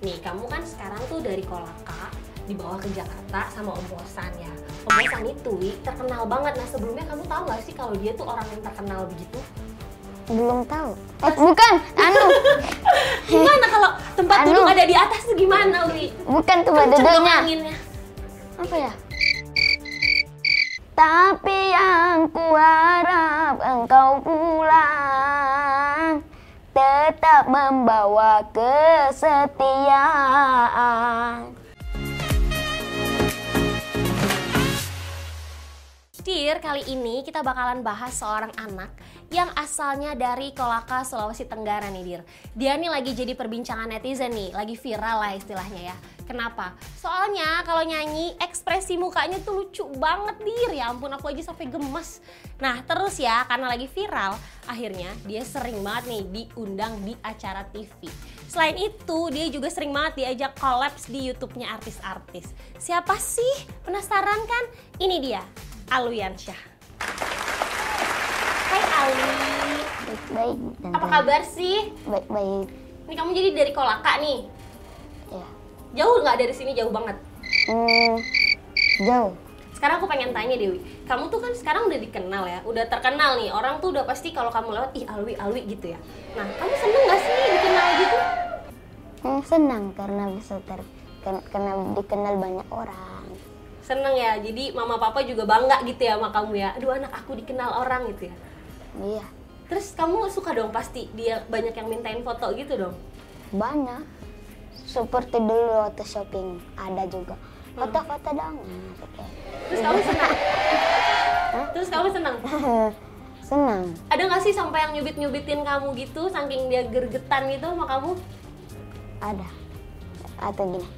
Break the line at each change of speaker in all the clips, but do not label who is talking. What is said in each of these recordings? Nih, kamu kan sekarang tuh dari Kolaka dibawa ke Jakarta sama Om Bosan ya. Om Bosan itu Wi, terkenal banget. Nah, sebelumnya kamu tahu gak sih kalau dia tuh orang yang terkenal begitu?
Belum tahu. Eh, bukan, anu,
Gimana kalau tempat
Anu.
duduk ada di atas tuh gimana, Wi?
bukan tuh
Kenceng dong
baduduknya.
anginnya.
Apa ya? Tapi yang kuharap engkau pulang tetap membawa kesetiaan.
Dear, kali ini kita bakalan bahas seorang anak yang asalnya dari Kolaka, Sulawesi Tenggara nih, Dir. Dia nih lagi jadi perbincangan netizen nih, lagi viral lah istilahnya ya. Kenapa? Soalnya kalau nyanyi ekspresi mukanya tuh lucu banget, Dir. Ya ampun, aku aja sampai gemes. Nah, terus ya, karena lagi viral, akhirnya dia sering banget nih diundang di acara TV. Selain itu, dia juga sering banget diajak collabs di YouTube-nya artis-artis. Siapa sih? Penasaran kan? Ini dia, Alwiansyah. Hai Ali,
Baik-baik. Tante.
apa kabar sih?
Baik-baik.
Ini kamu jadi dari Kolaka nih.
Ya.
Jauh nggak dari sini? Jauh banget.
Hmm, jauh.
Sekarang aku pengen tanya Dewi, kamu tuh kan sekarang udah dikenal ya, udah terkenal nih. Orang tuh udah pasti kalau kamu lewat, ih Alwi, Alwi gitu ya. Nah, kamu seneng gak sih dikenal gitu?
Hmm, senang karena bisa ter ken- karena dikenal banyak orang.
Seneng ya, jadi mama papa juga bangga gitu ya sama kamu ya. Aduh anak aku dikenal orang gitu ya.
Iya,
Terus kamu suka dong pasti dia banyak yang mintain foto gitu dong.
banyak. Seperti dulu waktu shopping ada juga.
Hmm.
Foto-foto dong.
Terus
Nah, gitu.
kamu senang? Terus kamu senang?
senang.
Ada nggak sih sampai yang nyubit-nyubitin kamu gitu, saking dia gergetan gitu sama kamu?
Ada. Atau gini.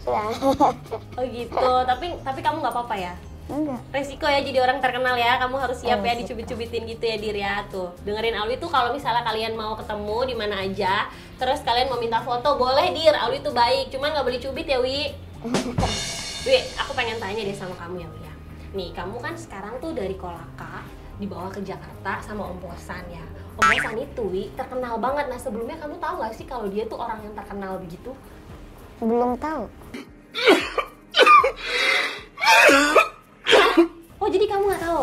Sudah.
Oh gitu, tapi tapi kamu nggak apa-apa ya?
Enggak.
Resiko ya jadi orang terkenal ya, kamu harus siap ya
Resiko.
dicubit-cubitin gitu ya diri ya tuh. Dengerin Alwi tuh kalau misalnya kalian mau ketemu di mana aja, terus kalian mau minta foto boleh dir, Alwi tuh baik, cuman nggak boleh cubit ya Wi. Wi, aku pengen tanya deh sama kamu ya Wi ya. Nih, kamu kan sekarang tuh dari Kolaka dibawa ke Jakarta sama Om Bosan ya. Om Bosan itu Wi terkenal banget. Nah sebelumnya kamu tahu nggak sih kalau dia tuh orang yang terkenal begitu?
Belum tahu.
Oh jadi kamu nggak tahu?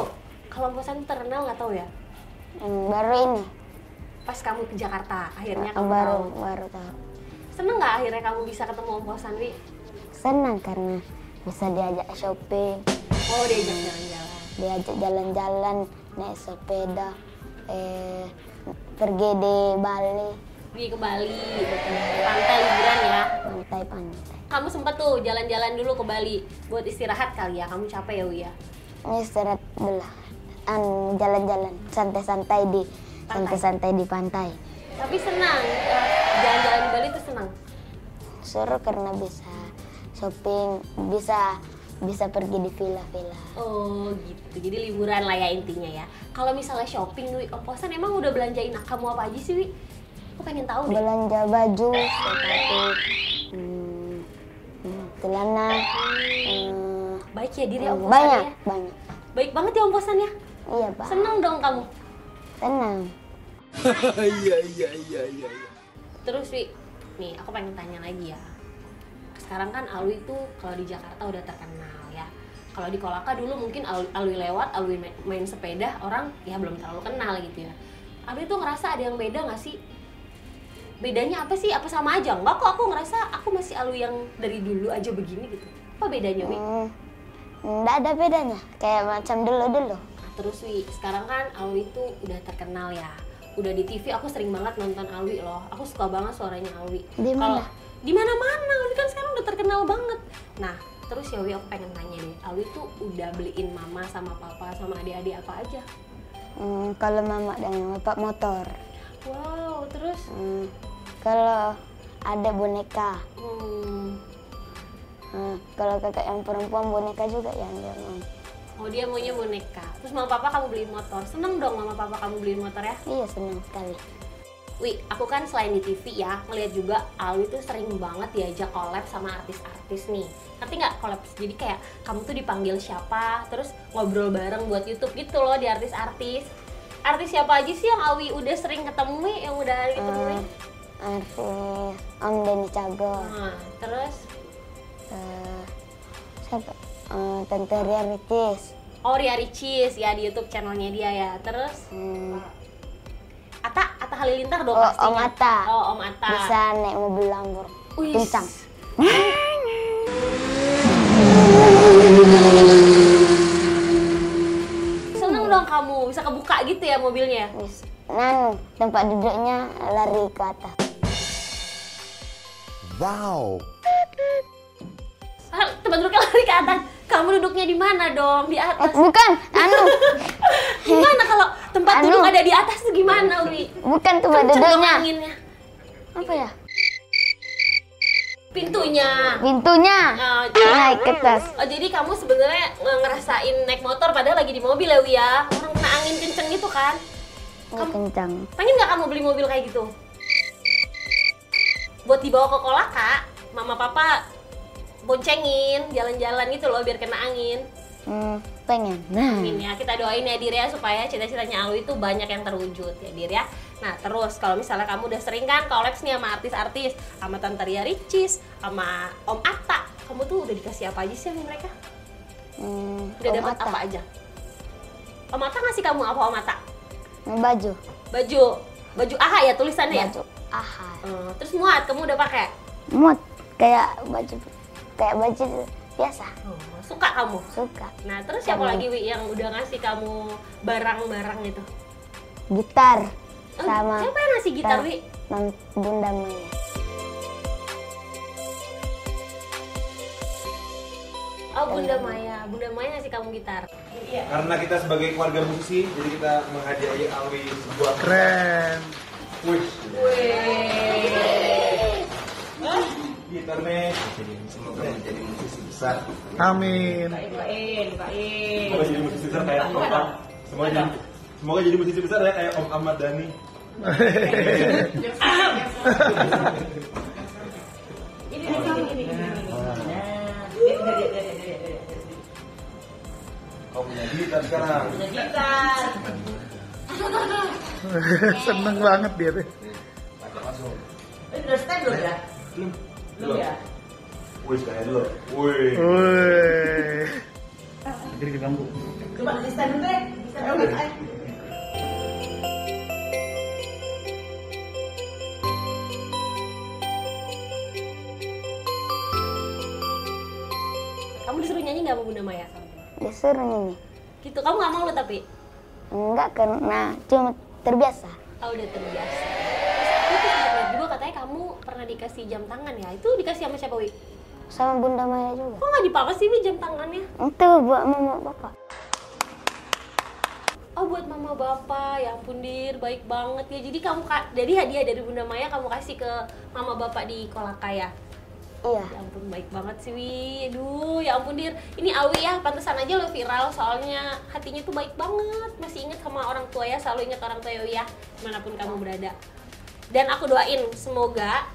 Kalau Om Bosan terkenal nggak tahu ya?
Hmm, baru ini.
Pas kamu ke Jakarta, akhirnya kamu
baru
tahu.
baru tahu.
Seneng nggak akhirnya kamu bisa ketemu Om Kosan, Wi?
Senang karena bisa diajak shopping,
Oh, diajak jalan-jalan.
diajak jalan-jalan, naik sepeda, eh pergi di Bali,
Pergi ke Bali, ke pantai liburan ya.
pantai-pantai.
Kamu sempet tuh jalan-jalan dulu ke Bali buat istirahat kali ya. Kamu capek ya, Wi ya?
Ini istirahat dulu. An jalan-jalan, santai-santai di santai-santai di pantai.
Tapi senang. eh, Jalan-jalan di Bali tuh senang.
Seru karena bisa shopping, bisa bisa pergi di villa-villa.
Oh, gitu. Jadi liburan lah ya intinya ya. Kalau misalnya shopping, Wi, Om Kosan emang udah belanjain kamu apa aja sih, Wi? Aku pengen tahu deh.
Belanja baju, sepatu, hmm, hmm, celana, hmm,
Baik ya diri Om Kosan
banyak
ya.
banyak.
Baik banget ya Om Kosan ya.
Iya pak,
Seneng dong kamu.
tenang.
iya iya iya iya iya.
Terus Wi, nih aku pengen tanya lagi ya. Sekarang kan Alwi itu kalau di Jakarta udah terkenal ya. Kalau di Kolaka dulu mungkin Al- Alwi lewat, Alwi ma- main sepeda, orang ya belum terlalu kenal gitu ya. Alwi tuh ngerasa ada yang beda nggak sih? Bedanya apa sih? Apa sama aja? Enggak kok aku ngerasa aku masih Alwi yang dari dulu aja begini gitu. Apa bedanya Wi?
Hmm, nggak ada bedanya, kayak macam dulu dulu.
Nah, Terus Wi, sekarang kan Alwi itu udah terkenal ya. Udah di TV aku sering banget nonton Alwi loh. Aku suka banget suaranya Alwi.
Di
Kalau-
mana?
Di mana-mana. Alwi kan sekarang udah terkenal banget. Nah, terus ya Wi aku pengen tanya deh. Alwi tuh udah beliin mama sama papa sama adik-adik apa aja?
Hmm, kalau mama dengan bapak motor.
Wow, terus
Hmm, kalau ada boneka.
hmm,
Hmm, kalau kakak yang perempuan boneka juga ya, yang dia mau.
oh dia maunya boneka. Terus mama papa kamu beliin motor. Seneng dong mama papa kamu beliin motor ya?
Iya senang sekali.
Wi, aku kan selain di TV ya, ngeliat juga Alwi tuh sering banget diajak collab sama artis-artis nih. Ngerti nggak collab? Jadi kayak kamu tuh dipanggil siapa, terus ngobrol bareng buat YouTube gitu loh di artis-artis. Artis siapa aja sih yang Alwi udah sering ketemui, yang udah ketemui?
Hmm, Arfi, Om Denny Cagor,
Nah, terus
eh, siapa? Eh, Tante Ria Ricis,
Oh Ria Ricis ya di YouTube channelnya dia ya. Terus
hmm,
Ata Ata Halilintar dong
Oh,
pastinya.
Om Atta.
Oh Om Atta.
bisa naik mobil Lambor,
Wih.
kencang.
Seneng dong kamu bisa kebuka gitu ya mobilnya.
Bis- Nan, tempat duduknya lari ke atas.
Wow.
Ah, Tempat duduknya lari ke atas. Kamu duduknya di mana dong? Di
Eh,
atas.
bukan, anu,
Gimana kalau tempat
Anu.
duduk ada di atas tuh gimana, Wi?
bukan tempat
Kenceng dong
duduknya.
anginnya.
Apa ya?
Pintunya.
Pintunya
Ah,
naik ke atas.
Oh, jadi kamu sebenarnya nge- ngerasain naik motor padahal lagi di mobil ya, Wi ya. Orang kena angin kenceng gitu kan.
Oh, kencang.
Pengen nggak kamu beli mobil kayak gitu? Buat dibawa ke kolaka, mama papa boncengin jalan-jalan gitu loh biar kena angin.
Hmm, pengen. Nah,
Amin ya, kita doain ya Dir ya supaya cita-citanya Alu itu banyak yang terwujud ya Dir ya. Nah terus kalau misalnya kamu udah sering kan kolaps nih sama artis-artis, sama Tante Ria Ricis, sama Om Atta, kamu tuh udah dikasih apa aja sih sama mereka?
hmm,
Udah
Om
dapat
Atta.
apa aja? Om Atta ngasih kamu apa Om Atta?
Nah, baju,
Baju, baju AHA ya tulisannya ya?
baju. Aha.
Eh, terus muat kamu udah pakai?
Mood kayak baju kayak baju biasa.
Oh, suka kamu.
Suka.
Nah, terus siapa
Kamu.
lagi Wi yang udah ngasih kamu barang-barang gitu?
Gitar
Eh,
sama
Siapa yang ngasih gitar, Wi?
Mam Bunda Maya.
Oh, Bunda Maya. Bunda Maya ngasih kamu gitar.
Karena kita sebagai keluarga musisi, jadi kita menghadiahi Alwi sebuah
Keren.
Wih. Gitar nih. Semoga menjadi musisi besar.
Amin.
Semoga jadi musisi besar kayak Om Am. Semoga jadi semoga jadi musisi besar ya kayak Om Ahmad Dhani.
Nah,
Kau punya gitar sekarang.
Seneng banget dia. tuh.
Pakai langsung.
Udah stand belum ya?
Belum.
Belum ya?
Wih, kayak dulu. Wih.
Woi.
Coba di stand dulu deh. Di stand dulu eh. deh.
Kamu disuruh nyanyi nggak sama Bunda Maya?
Disuruh nyanyi.
Gitu, kamu nggak mau lo tapi?
Enggak karena cuma terbiasa.
Oh, udah terbiasa. Terus, aku sempat lihat juga katanya kamu pernah dikasih jam tangan ya? Itu dikasih sama siapa, Wi?
Sama Bunda Maya juga.
Kok nggak dipakai sih, Wi, jam tangannya?
Itu buat mama bapak.
Oh, buat mama bapak. Ya ampun, Dir. Baik banget ya. Jadi kamu ka- jadi hadiah dari Bunda Maya kamu kasih ke mama bapak di Kolaka ya?
Iya.
Ya ampun baik banget sih Wi. Aduh, ya ampun Dir. Ini Awi ya, pantesan aja lo viral soalnya hatinya tuh baik banget. Masih ingat sama orang tua ya, selalu ingat orang tua ya Wi ya, dimanapun kamu berada. Dan aku doain semoga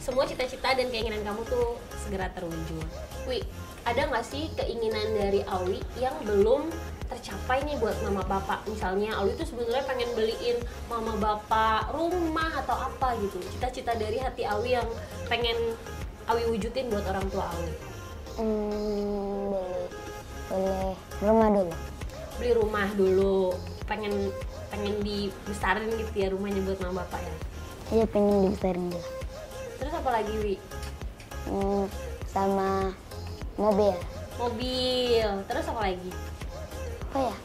semua cita-cita dan keinginan kamu tuh segera terwujud. Wi, ada nggak sih keinginan dari Awi yang belum tercapai nih buat mama bapak? Misalnya Awi tuh sebenarnya pengen beliin mama bapak rumah atau apa gitu. Cita-cita dari hati Awi yang pengen Awi wujudin buat orang tua Awi.
Hmm, boleh. Boleh rumah dulu.
Beli rumah dulu, pengen pengen dibesarin gitu ya rumahnya buat mama bapak ya.
Iya pengen dibesarin dulu.
Terus apa lagi Wi?
Hmm, sama mobil.
Mobil. Terus apa lagi?
Apa ya?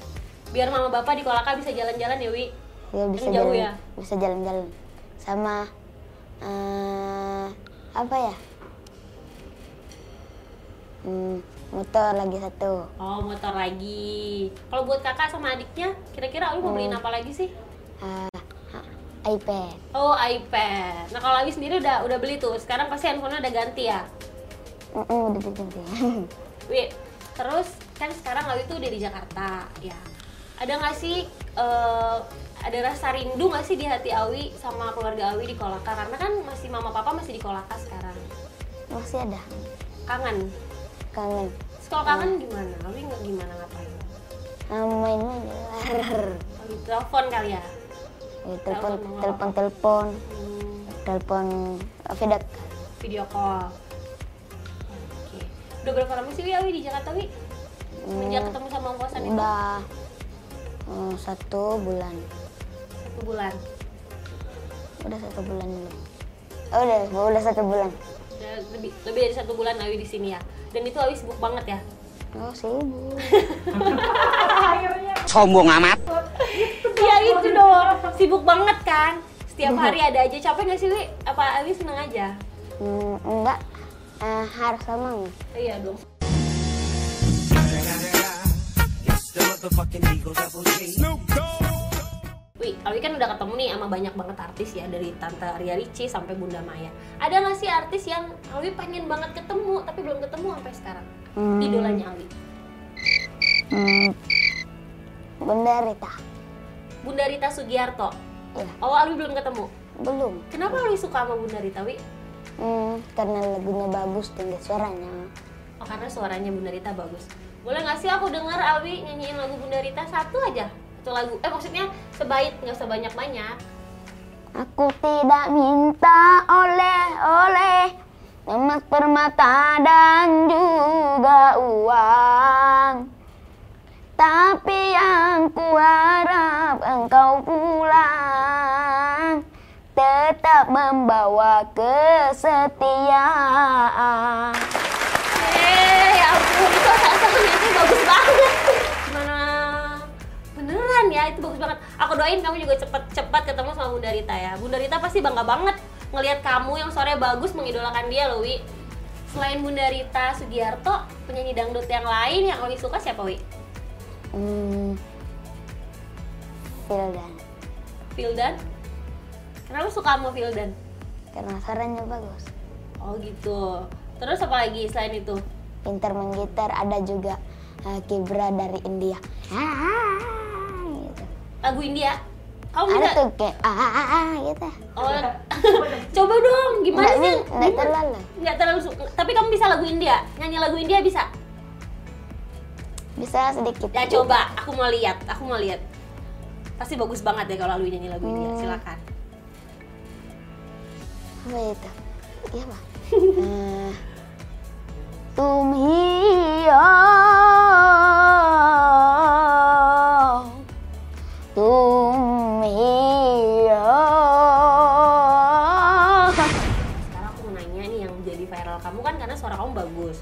Biar mama bapak di Kolaka bisa jalan-jalan ya Wi.
Ya bisa
Yang jauh
jalan,
ya?
bisa jalan-jalan sama eh, apa ya? Hmm, motor lagi satu.
Oh, motor lagi. Oh. Kalau buat kakak sama adiknya, kira-kira lu mau beliin apa lagi sih?
Eh, ha- iPad.
Oh, iPad. Nah, kalau Awi sendiri udah udah beli tuh. Sekarang pasti handphonenya udah ganti ya.
Mm-mm, udah gitu ya. diganti.
Wi, terus kan sekarang Awi tuh udah di Jakarta, ya. Ada nggak sih eh, ada rasa rindu nggak sih di hati Awi sama keluarga Awi di Kolaka? Karena kan masih mama papa masih di Kolaka sekarang.
Masih ada
Kangen.
kangen.
Terus Kalau kangen gimana? Awi nggak gimana ngapain?
Eh, main-main di luar.
Awi telepon kali ya.
Ya, telepon,
Telepon,
telepon, telepon.
Hmm,
telepon eh, video call.
Video call. Oke. Udah berapa lama sih Wi Awi di Jakarta Wi? Sejak ketemu sama Om Kosan itu
udah eh, satu bulan
satu bulan.
udah satu bulan belum oh, udah udah satu bulan
Udah lebih lebih dari satu bulan Awi di sini ya. Dan itu Awi sibuk banget ya.
oh sibuk
sombong amat.
Iya itu dong. Sibuk banget kan. Setiap hari ada aja. Capek nggak sih Wi? Apa Awi seneng aja?
Hmm, enggak Eh, harus senang
Iya dong. Wi, Awi kan udah ketemu nih sama banyak banget artis ya dari Tante Ria Ricci sampai Bunda Maya. Ada nggak sih artis yang Awi pengen banget ketemu tapi belum ketemu sampai sekarang?
Hmm.
Idolanya Awi.
hmm, bunda Rita
Bunda Rita Sugiarto.
Iya.
Oh, Awi belum ketemu.
belum
Kenapa Awi suka sama Bunda Rita, Wi?
hmm, karena lagunya bagus tinggi suaranya
Oh, karena suaranya Bunda Rita bagus. Boleh nggak sih aku denger Awi nyanyiin lagu Bunda Rita satu aja? Satu lagu. Eh, maksudnya sebait, nggak usah banyak-banyak.
Aku tidak minta oleh-oleh Emas permata dan juga uang Tapi yang kuharap engkau pulang Tetap membawa kesetiaan
Yeay, ya ampun, itu salah itu bagus banget. Gimana? Beneran ya, itu bagus banget. Aku doain kamu juga cepet-cepet ketemu sama Bunda Rita ya. Bunda Rita pasti bangga banget ngelihat kamu yang suaranya bagus mengidolakan dia loh, Wi. Selain Bunda Rita Sugiarto, penyanyi dangdut yang lain yang lebih suka siapa, Wi?
Hmm, Vildan,
Vildan? Kenapa suka sama Vildan?
karena suaranya ya, bagus
Oh gitu. Terus apa lagi selain itu?
pintar main gitar ada juga eh, Kibra dari India Hai, gitu.
Lagu India? Kamu
ada
bisa?
tuh kayak ah, ah, ah, ah, gitu
Oh, coba dong. Gimana
nggak nah,
sih?
bi- nggak
Gimana?
terlalu
nggak terlalu suka. Tapi kamu bisa lagu India, nyanyi lagu India bisa.
bisa sedikit
Ya coba, aku mau lihat, aku mau lihat. Pasti bagus banget ya kalau lalu nyanyi lagu India.
Hmm.
Silakan.
apa itu iya pak Eh, tum hiyo tum hiyo
Sekarang aku mau nanya nih yang jadi viral kamu kan karena suara kamu bagus.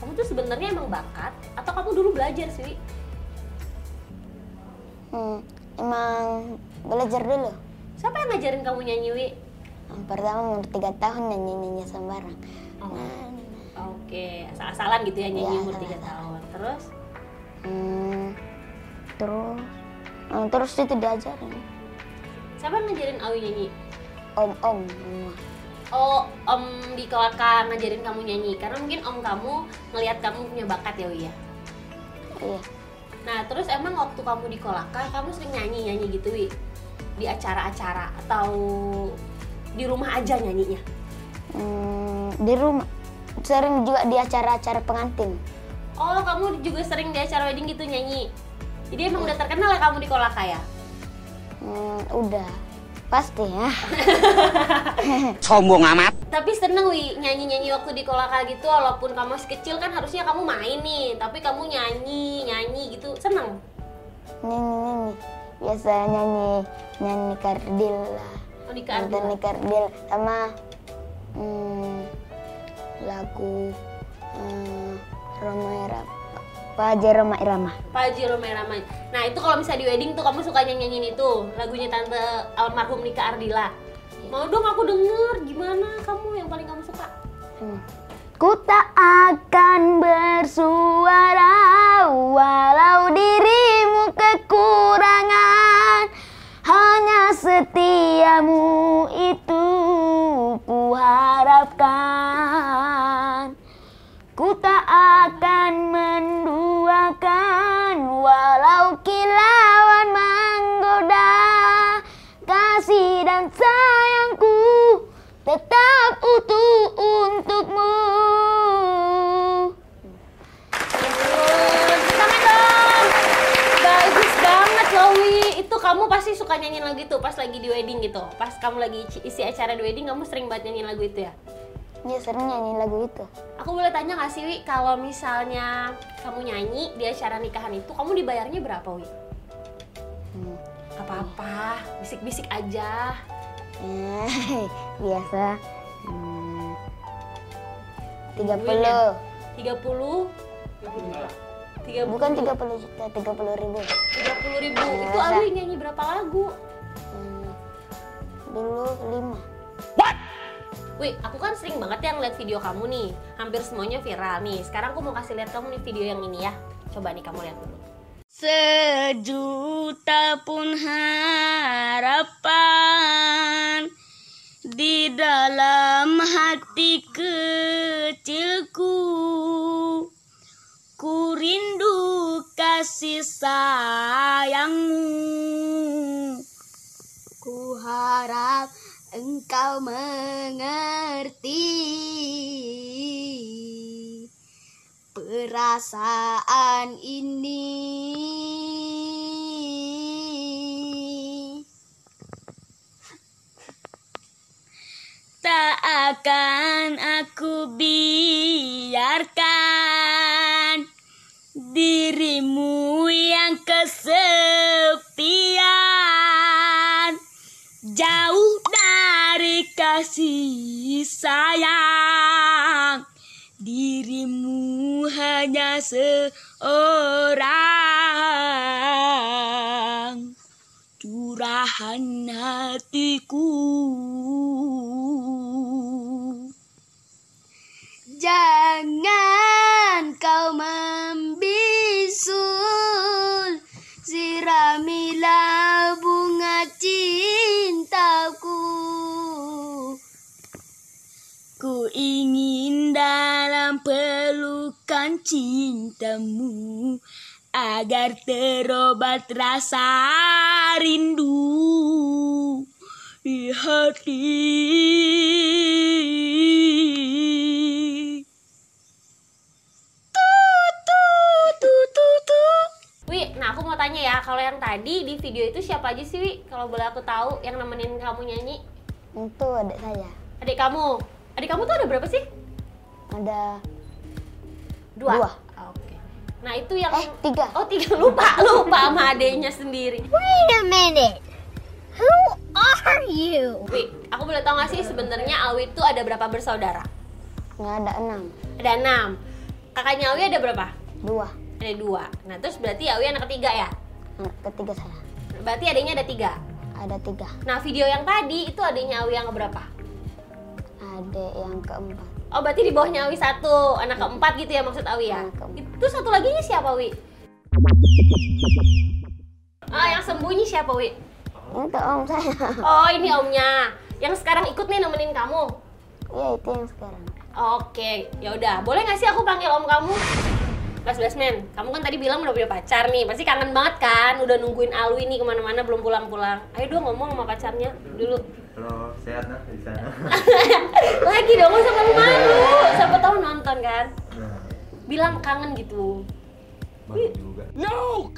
Kamu tuh sebenarnya emang bakat atau kamu dulu belajar sih? Wi?
Hmm, emang belajar dulu.
Siapa yang ngajarin kamu nyanyi, Wi?
Yang pertama umur tiga tahun nyanyi-nyanyi sembarang.
Oh.
Nah,
Oke, asal-asalan gitu ya nyanyi
Iya,
umur 3
asal-asalan.
tahun. Terus
hmm, terus, eh, terus itu diajarin.
siapa yang ngajarin Awi nyanyi?
Om-om semua.
Oh, Om di Kolaka ngajarin kamu nyanyi karena mungkin Om kamu ngelihat kamu punya bakat ya, Wi ya.
Iya.
Nah, terus emang waktu kamu di Kolaka, kamu sering nyanyi-nyanyi gitu, Wi? Di acara-acara atau di rumah aja nyanyinya?
Hmm, di rumah sering juga di acara-acara pengantin.
Oh, kamu juga sering di acara wedding gitu nyanyi? Jadi emang udah terkenal ya kamu di Kolaka ya?
Hmm, udah pasti ya.
Sombong amat.
Tapi seneng Wi nyanyi-nyanyi waktu di Kolaka gitu walaupun kamu masih kecil kan harusnya kamu main nih tapi kamu nyanyi nyanyi gitu seneng
Nyanyi-nyanyi. Biasa nyanyi nyanyi kardil lah.
oh, di keadaan.
Nyanyi kardil sama hmm, lagu hmm, Roma Irama. Pak Roma Irama.
Pak Haji Roma Irama. Nah itu kalau misalnya di wedding tuh kamu suka nyanyiin itu lagunya tante almarhum Nika Ardila. Mau dong aku denger gimana kamu yang paling kamu suka?
Hmm. Ku tak akan bersuara walau dirimu kekurangan Hanya setiamu itu ku harapkan Ku tak akan menduakan walau kilauan menggoda Kasih dan sayangku tetap utuh untukmu
Tangan dong. Bagus banget Lowi. Itu kamu pasti pasti suka nyanyiin lagu itu pas lagi di wedding gitu. Pas kamu lagi isi- isi acara di wedding, kamu sering banget nyanyiin lagu itu ya?
Dia Iya, sering nyanyi lagu itu.
Aku boleh tanya nggak sih, Wi, kalau misalnya kamu nyanyi di acara nikahan itu, kamu dibayarnya berapa, Wi?
Hmm.
Gak apa-apa, bisik-bisik aja.
Eh, Biasa. Hmm. 30.
Tungguin ya. 30,
kan
30,
Bukan 30 juta, 30 ribu.
30 ribu.
Iya,
Itu
Sa.
Alwi nyanyi berapa lagu?
Hmm. Dulu 5.
Wi, aku kan sering banget yang lihat video kamu nih. Hampir semuanya viral nih. Sekarang aku mau kasih lihat kamu nih video yang ini ya. Coba nih kamu lihat dulu.
Sejuta pun harapan di dalam hati kecilku Ku rindu kasih sayangmu Ku harap engkau mengerti perasaan ini tak akan aku biarkan dirimu yang kesepian jauh dari kasih sayang dirimu hanya seorang curahan hatiku jangan kau membisul siramilah bunga cintaku Ku ingin dalam pelukan cintamu agar terobat rasa rindu di hati. Tu, tu, tu, tu, tu.
Wi, nah aku mau tanya ya, kalau yang tadi di video itu siapa aja sih, Wi? Kalau boleh aku tahu yang nemenin kamu nyanyi?
Itu adik saya.
Adik kamu. Adik kamu tuh ada berapa sih?
Ada
Dua.
Dua.
Ah, Oke. Nah, itu yang
eh tiga.
Oh, tiga lupa, lupa sama adiknya sendiri.
Wait a minute. Who are you?
Wi, aku boleh tahu nggak sih sebenarnya Alwi itu ada berapa bersaudara?
Nggak ada enam.
Ada enam. Kakaknya Alwi ada berapa?
Dua.
Ada dua. Nah, terus berarti Alwi anak ketiga ya?
Anak ketiga saya.
Berarti adiknya ada tiga.
Ada tiga.
Nah, video yang tadi itu adiknya Alwi yang berapa?
Adik yang keempat.
Oh, berarti di bawahnya Awi satu, anak keempat gitu ya maksud Awi ya?
Anak keempat.
Itu satu lagi siapa, Wi? Oh, yang sembunyi siapa, Wi?
Itu om saya.
Oh, ini omnya. Yang sekarang ikut nih nemenin kamu.
Iya itu yang sekarang.
Oke, ya udah. Boleh nggak sih aku panggil om kamu? Blas Blas Men, kamu kan tadi bilang udah punya pacar nih, pasti kangen banget kan? Udah nungguin Alwi nih kemana-mana belum pulang-pulang. Ayo dong ngomong sama pacarnya dulu.
Kalau sehat nah di sana.
Lagi dong, sama kamu malu. Siapa tahu nonton kan?
Nah,
Bilang kangen gitu.
baru juga.
Malu.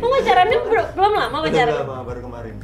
Kamu pacarannya bel- belum lama
Udah
pacaran?
lama baru kemarin.